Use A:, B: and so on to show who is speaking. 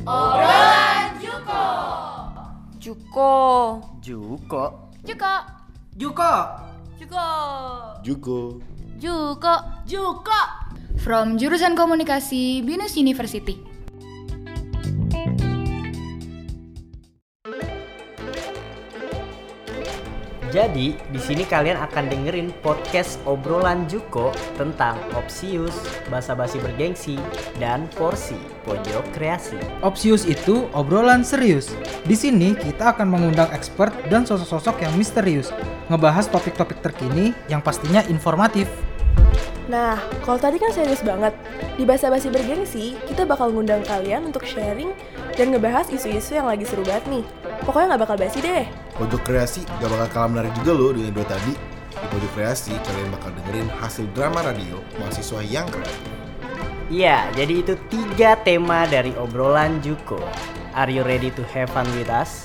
A: Obrolan Juko.
B: Juko.
C: Juko
B: Juko.
C: Juko
B: Juko.
D: Juko.
B: Juko. Juko. From jurusan komunikasi Binus University.
C: Jadi di sini kalian akan dengerin podcast obrolan Juko tentang Opsius, basa-basi bergengsi, dan porsi pojok kreasi.
E: Opsius itu obrolan serius. Di sini kita akan mengundang expert dan sosok-sosok yang misterius, ngebahas topik-topik terkini yang pastinya informatif.
F: Nah, kalau tadi kan serius banget. Di Bahasa Basi Bergengsi, kita bakal ngundang kalian untuk sharing dan ngebahas isu-isu yang lagi seru banget nih. Pokoknya nggak bakal basi deh.
D: Pojok kreasi gak bakal kalah menarik juga loh dengan dua tadi. Di pojok kreasi kalian bakal dengerin hasil drama radio mahasiswa yang keren.
C: Iya, jadi itu tiga tema dari obrolan Juko. Are you ready to have fun with us?